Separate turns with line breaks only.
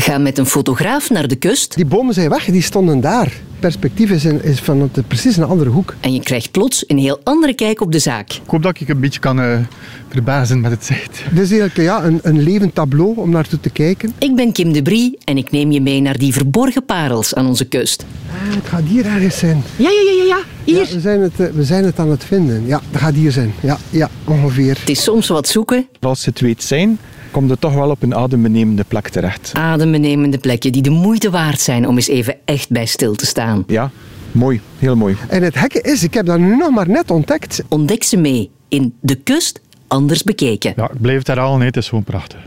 ga met een fotograaf naar de kust
Die bomen zijn weg, die stonden daar. Perspectief is, in- is van het, precies een andere hoek.
en je krijgt plots een heel andere kijk op de zaak.
Ik hoop dat ik een beetje kan eh, verbazen met het zicht.
Het is eigenlijk ja, een, een levend tableau om naartoe te kijken.
Ik ben Kim de Brie en ik neem je mee naar die verborgen parels aan onze kust.
Ah, het gaat hier ergens zijn.
Ja, ja, ja, ja, ja. Hier.
Ja, we, zijn het, eh, we zijn het aan het vinden. Ja, dat gaat hier zijn. Ja, ja ongeveer.
Het is soms wat zoeken,
Als ze het weet zijn, komt het toch wel op een adembenemende plek terecht.
adembenemende plekken die de moeite waard zijn om eens even echt bij stil te staan.
Ja, mooi. Heel mooi.
En het gekke is, ik heb dat nu nog maar net ontdekt.
Ontdek ze mee in De Kust Anders Bekeken.
Ja, ik blijf daar al. Nee, het is gewoon prachtig.